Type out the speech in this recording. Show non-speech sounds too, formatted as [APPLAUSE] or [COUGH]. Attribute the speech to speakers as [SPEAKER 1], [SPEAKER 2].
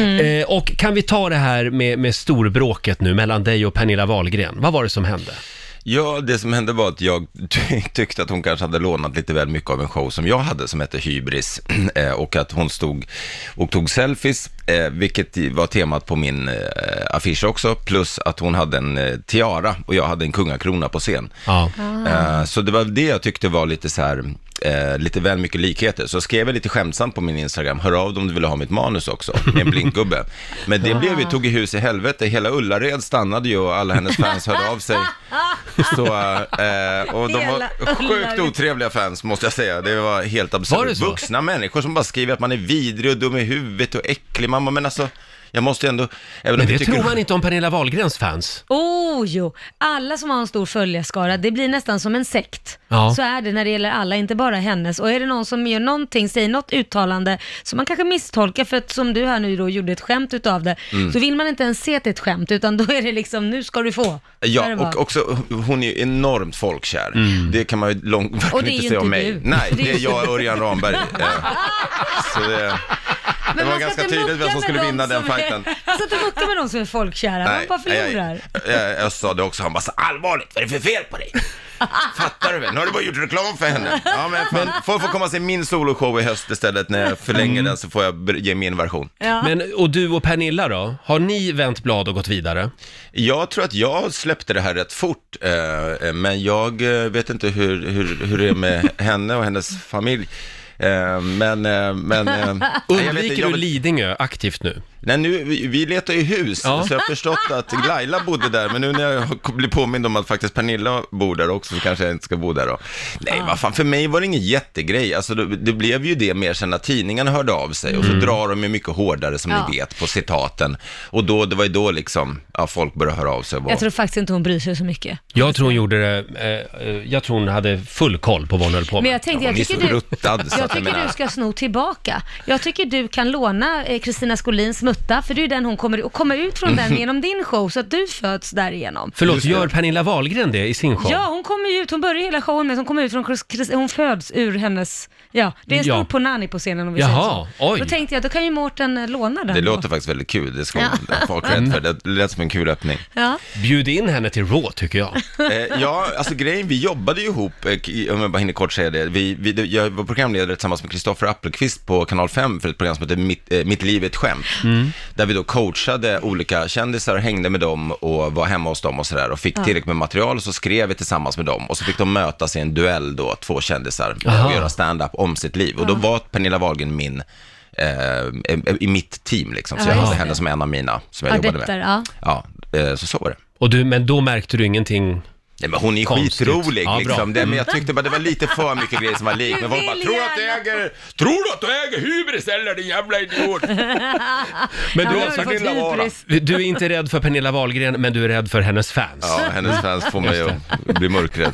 [SPEAKER 1] Mm.
[SPEAKER 2] Eh, och kan vi ta det här med, med storbråket nu mellan dig och Pernilla Wahlgren? Vad var det som hände?
[SPEAKER 3] Ja, det som hände var att jag ty- [LAUGHS] tyckte att hon kanske hade lånat lite väl mycket av en show som jag hade som hette Hybris [CLEARS THROAT] eh, och att hon stod och tog selfies, eh, vilket i- var temat på min eh, affisch också, plus att hon hade en eh, tiara och jag hade en kungakrona på scen.
[SPEAKER 2] Ja. Ah.
[SPEAKER 3] Eh, Så det var det jag tyckte var lite så här, eh, lite väl mycket likheter. Så skrev jag lite skämtsamt på min Instagram, hör av dig om du vill ha mitt manus också, med en blinkgubbe. Men det blev ju,
[SPEAKER 2] Ah.
[SPEAKER 3] tog i hus i helvete, hela Ullared stannade ju och alla hennes fans hörde av sig. Så, eh, och de
[SPEAKER 1] Hela
[SPEAKER 3] var sjukt
[SPEAKER 1] Ullared.
[SPEAKER 3] otrevliga fans måste jag säga, det var helt absurt.
[SPEAKER 2] Var det så?
[SPEAKER 3] Vuxna människor som bara skriver att man är vidrig och dum i huvudet och äcklig, mamma men alltså, jag måste ju ändå, även
[SPEAKER 2] Men
[SPEAKER 3] om
[SPEAKER 2] det
[SPEAKER 3] jag tycker...
[SPEAKER 2] tror man inte om Pernilla Wahlgrens fans.
[SPEAKER 1] Oh jo, alla som har en stor följarskara, det blir nästan som en sekt.
[SPEAKER 2] Ja.
[SPEAKER 1] Så är det när det gäller alla, inte bara hennes. Och är det någon som gör någonting, säger något uttalande som man kanske misstolkar, för att som du här nu då gjorde ett skämt utav det,
[SPEAKER 3] Mm.
[SPEAKER 1] så vill man inte ens se att det är ett skämt, utan då är det liksom, nu ska du få. Där det
[SPEAKER 3] Ja,
[SPEAKER 1] var.
[SPEAKER 3] och också, hon är ju enormt folkkär. Det kan man ju långt, verkligen
[SPEAKER 1] Och det är
[SPEAKER 3] inte
[SPEAKER 1] ju
[SPEAKER 3] säga om
[SPEAKER 1] inte
[SPEAKER 3] mig.
[SPEAKER 1] du.
[SPEAKER 3] Nej,
[SPEAKER 1] [LAUGHS] Det är
[SPEAKER 3] det är
[SPEAKER 1] ju
[SPEAKER 3] jag och Örjan Ramberg.
[SPEAKER 1] [LAUGHS]
[SPEAKER 3] Eh, Så det, det
[SPEAKER 1] man
[SPEAKER 3] var
[SPEAKER 1] ska
[SPEAKER 3] ganska
[SPEAKER 1] inte
[SPEAKER 3] tydligt vem
[SPEAKER 1] mucka
[SPEAKER 3] som
[SPEAKER 1] med
[SPEAKER 3] skulle
[SPEAKER 1] dem
[SPEAKER 3] vinna den
[SPEAKER 1] som är- [LAUGHS]
[SPEAKER 3] fighten.
[SPEAKER 1] Man ska inte mucka med de som är folkkära, man bara förlorar.
[SPEAKER 3] jag, jag, jag sa det också, han bara så allvarligt, vad är det för fel
[SPEAKER 1] [LAUGHS]
[SPEAKER 3] på dig? Fattar du väl? Nu har du bara gjort reklam för henne. Ja, men fan, folk får komma och se min soloshow i höst istället. När jag förlänger den så får jag ber- ge min version.
[SPEAKER 1] Ja.
[SPEAKER 2] Men, och du och Pernilla då? Har ni vänt blad och gått vidare?
[SPEAKER 3] Jag tror att jag släppte det här rätt fort, eh, men jag eh, vet inte hur, hur, hur det är med [LAUGHS] henne och hennes familj. Eh, men... Eh,
[SPEAKER 2] [LAUGHS]
[SPEAKER 3] men eh, jag vet inte,
[SPEAKER 2] Undviker
[SPEAKER 3] jag
[SPEAKER 2] du
[SPEAKER 3] vill-
[SPEAKER 2] Lidingö aktivt nu?
[SPEAKER 3] Nej, nu, vi, vi letar ju hus,
[SPEAKER 2] Ja.
[SPEAKER 3] så jag har förstått att Laila bodde där, men nu när jag har- blir påmind om att faktiskt Pernilla bor där också, så kanske jag inte ska bo där då. Nej, vad fan, för mig var det ingen jättegrej. Alltså, det, det blev ju det mer sen när tidningarna hörde av sig, och
[SPEAKER 2] Mm.
[SPEAKER 3] så drar de ju mycket hårdare, som
[SPEAKER 1] Ja.
[SPEAKER 3] ni vet, på citaten. Och då, det var ju då liksom, ja, folk började höra av sig. och bara-
[SPEAKER 1] Jag tror faktiskt inte hon bryr sig så mycket.
[SPEAKER 2] Jag tror hon gjorde det, eh, eh, jag tror hon hade full koll på vad hon höll på
[SPEAKER 1] Men
[SPEAKER 2] med.
[SPEAKER 1] jag tänkte, jag
[SPEAKER 3] Hon är
[SPEAKER 1] tycker
[SPEAKER 3] så
[SPEAKER 1] du...
[SPEAKER 3] ruttad, så
[SPEAKER 1] Jag
[SPEAKER 3] att jag
[SPEAKER 1] tycker
[SPEAKER 3] menar-
[SPEAKER 1] du ska sno tillbaka. Jag tycker du kan låna eh, Kristina Skolins mutta, för det är ju den hon kommer, och kommer ut från den genom din show, så att du föds därigenom.
[SPEAKER 2] Förlåt, gör Pernilla Wahlgren det i sin show?
[SPEAKER 1] Ja, hon kommer ju ut, hon börjar hela showen med att hon kommer ut från, Chris- Chris- hon föds ur hennes, ja, det är en stor
[SPEAKER 2] Ja.
[SPEAKER 1] ponani på scenen om vi
[SPEAKER 2] Jaha,
[SPEAKER 1] säger så.
[SPEAKER 2] oj.
[SPEAKER 1] Då tänkte jag, då kan ju Mårten eh, låna den.
[SPEAKER 3] Det
[SPEAKER 1] då.
[SPEAKER 3] låter faktiskt väldigt kul, det ska folk ha rätt för. Det lät som en kul öppning.
[SPEAKER 1] Ja.
[SPEAKER 2] Bjud in henne till Raw tycker
[SPEAKER 1] [LAUGHS]
[SPEAKER 2] jag.
[SPEAKER 3] Eh, ja, alltså grejen, vi jobbade ju ihop, eh, k- om jag bara hinner kort säga det. Vi, vi, det- jag var programledare tillsammans med Kristoffer Appelqvist på Kanal 5 för ett program som heter Mitt, eh, Mitt liv är ett skämt. Där vi då coachade olika kändisar, hängde med dem och var hemma hos dem och sådär. Och fick tillräckligt med material och så skrev vi tillsammans med dem. Och så fick de mötas i en duell då, två kändisar,
[SPEAKER 2] Aha.
[SPEAKER 3] och göra stand-up om sitt liv. Och då var Pernilla Wahlgren min eh, eh, i mitt team liksom, så
[SPEAKER 1] Ja,
[SPEAKER 3] jag
[SPEAKER 1] just
[SPEAKER 3] hade
[SPEAKER 1] det.
[SPEAKER 3] henne som en av mina som jag
[SPEAKER 1] Adepter,
[SPEAKER 3] jobbade
[SPEAKER 1] ja.
[SPEAKER 3] med. Ja. eh, så så var det.
[SPEAKER 2] Och du, men då märkte du ingenting?
[SPEAKER 3] Nej, men hon är
[SPEAKER 2] Konstigt.
[SPEAKER 3] skitrolig
[SPEAKER 2] Ja, bra. Mm.
[SPEAKER 3] liksom. Det, men jag tyckte bara det var lite för mycket grejer som var lik. Men folk bara,
[SPEAKER 1] vill
[SPEAKER 3] tror du att du
[SPEAKER 1] gärna."
[SPEAKER 3] äger, tror du att du äger hybris eller din jävla
[SPEAKER 1] [LAUGHS]
[SPEAKER 3] idiot?
[SPEAKER 2] Men
[SPEAKER 1] Ja,
[SPEAKER 2] du,
[SPEAKER 1] nu
[SPEAKER 3] har
[SPEAKER 1] har
[SPEAKER 3] sagt
[SPEAKER 1] du
[SPEAKER 3] lilla
[SPEAKER 1] fått
[SPEAKER 3] vara.
[SPEAKER 1] hybris.
[SPEAKER 2] du är inte rädd för Pernilla Wahlgren, men du är rädd för hennes fans.
[SPEAKER 3] Ja, hennes fans får mig att bli mörkrädd.